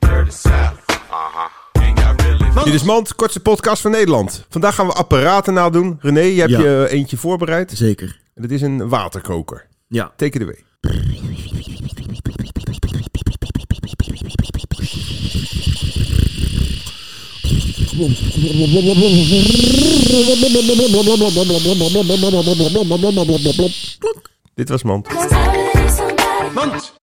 the south. Uh-huh. Ain't got really Dit is Mand, kortste podcast van Nederland. Vandaag gaan we apparaten nadoen. René, je hebt Ja. je eentje voorbereid. Zeker. En Het is een waterkoker. Ja. Take it away. Dit was Mand. Somebody, somebody.